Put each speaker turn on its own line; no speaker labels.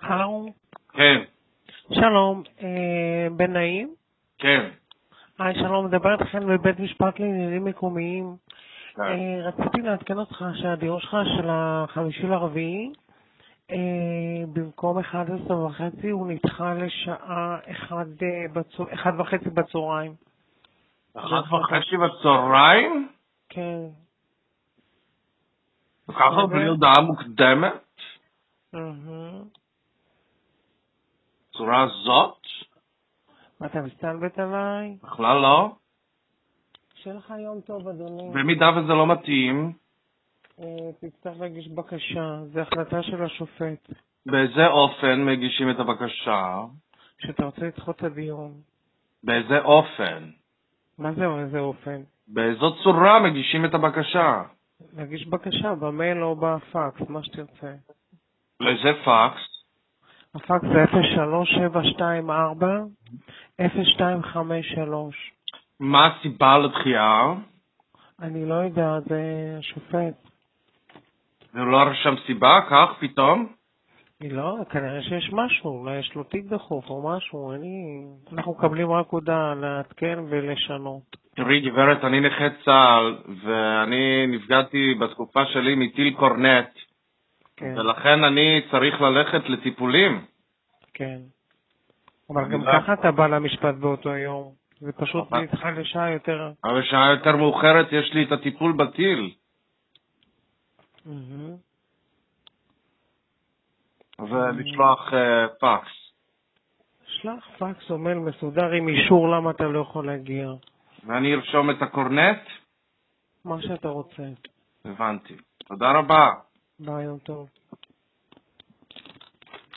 הלו,
כן,
שלום, אה, בן נעים?
כן.
היי, שלום, מדבר איתכם בבית משפט לעניינים מקומיים.
כן.
אה, רציתי לעדכן אותך שהדיור שלך של החמישי לרביעי, אה, במקום 11 וחצי הוא נדחה לשעה 1 וחצי בצהריים.
אחת וחצי בצהריים?
כן.
כל כך הרבה הודעה מוקדמת?
מהמם.
בצורה זאת?
מה, אתה מסתלבט עליי?
בכלל לא.
שיהיה לך יום טוב, אדוני.
במידה וזה לא מתאים,
אה, תצטרך להגיש בקשה, זו החלטה של השופט,
באיזה אופן מגישים את הבקשה?
שאתה רוצה לדחות את הדיון.
באיזה אופן?
מה זה באיזה אופן?
באיזו צורה מגישים את הבקשה?
להגיש בקשה במייל או בפקס, מה שתרצה.
לאיזה פקס?
הפקס זה 03724 0253.
מה הסיבה לדחייה?
אני לא יודע, זה השופט.
ולא לא רשם סיבה? כך פתאום?
אני לא, כנראה שיש משהו, אולי יש לו תיק דחוף או משהו, אני... אנחנו מקבלים רק הודעה לעדכן ולשנות.
תראי, גברת, אני נכה צה"ל, ואני נפגעתי בתקופה שלי מטיל קורנט,
כן,
ולכן אני צריך ללכת לטיפולים.
כן. אבל
אני
גם
לא-
ככה אתה בא למשפט באותו יום. זה פשוט
אבל-
נדחה לשעה יותר.
אבל בשעה יותר מאוחרת יש לי את הטיפול בטיל,
מהמם.
ולשלוח אה, פקס.
שלח פקס או מייל מסודר עם אישור למה אתה לא יכול להגיע.
ואני ארשום את הקורנט?
מה שאתה רוצה.
הבנתי. תודה רבה.
ביי, יום טוב.